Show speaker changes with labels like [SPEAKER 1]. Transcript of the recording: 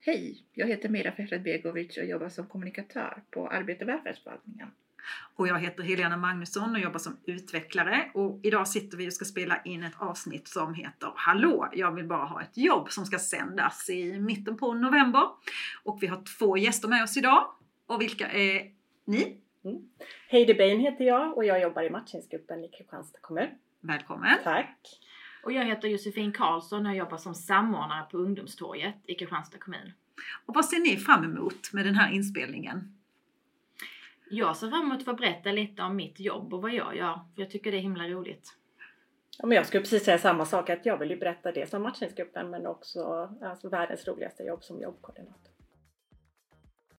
[SPEAKER 1] Hej, jag heter Mira Fehrad Begovic och jobbar som kommunikatör på Arbete och välfärdsförvaltningen.
[SPEAKER 2] Och jag heter Helena Magnusson och jobbar som utvecklare. Och idag sitter vi och ska spela in ett avsnitt som heter Hallå, jag vill bara ha ett jobb som ska sändas i mitten på november. Och vi har två gäster med oss idag. Och vilka är ni?
[SPEAKER 3] Mm. Heidi Bain heter jag och jag jobbar i matchningsgruppen i Kristianstad kommun.
[SPEAKER 2] Välkommen!
[SPEAKER 3] Tack!
[SPEAKER 4] Och jag heter Josefin Karlsson och jag jobbar som samordnare på Ungdomstorget i Kristianstad kommun.
[SPEAKER 2] Och vad ser ni fram emot med den här inspelningen?
[SPEAKER 4] Jag ser fram emot att få berätta lite om mitt jobb och vad jag gör. För jag tycker det är himla roligt.
[SPEAKER 3] Ja, men jag skulle precis säga samma sak, att jag vill ju berätta det som matchningsgruppen men också alltså, världens roligaste jobb som jobbkoordinator.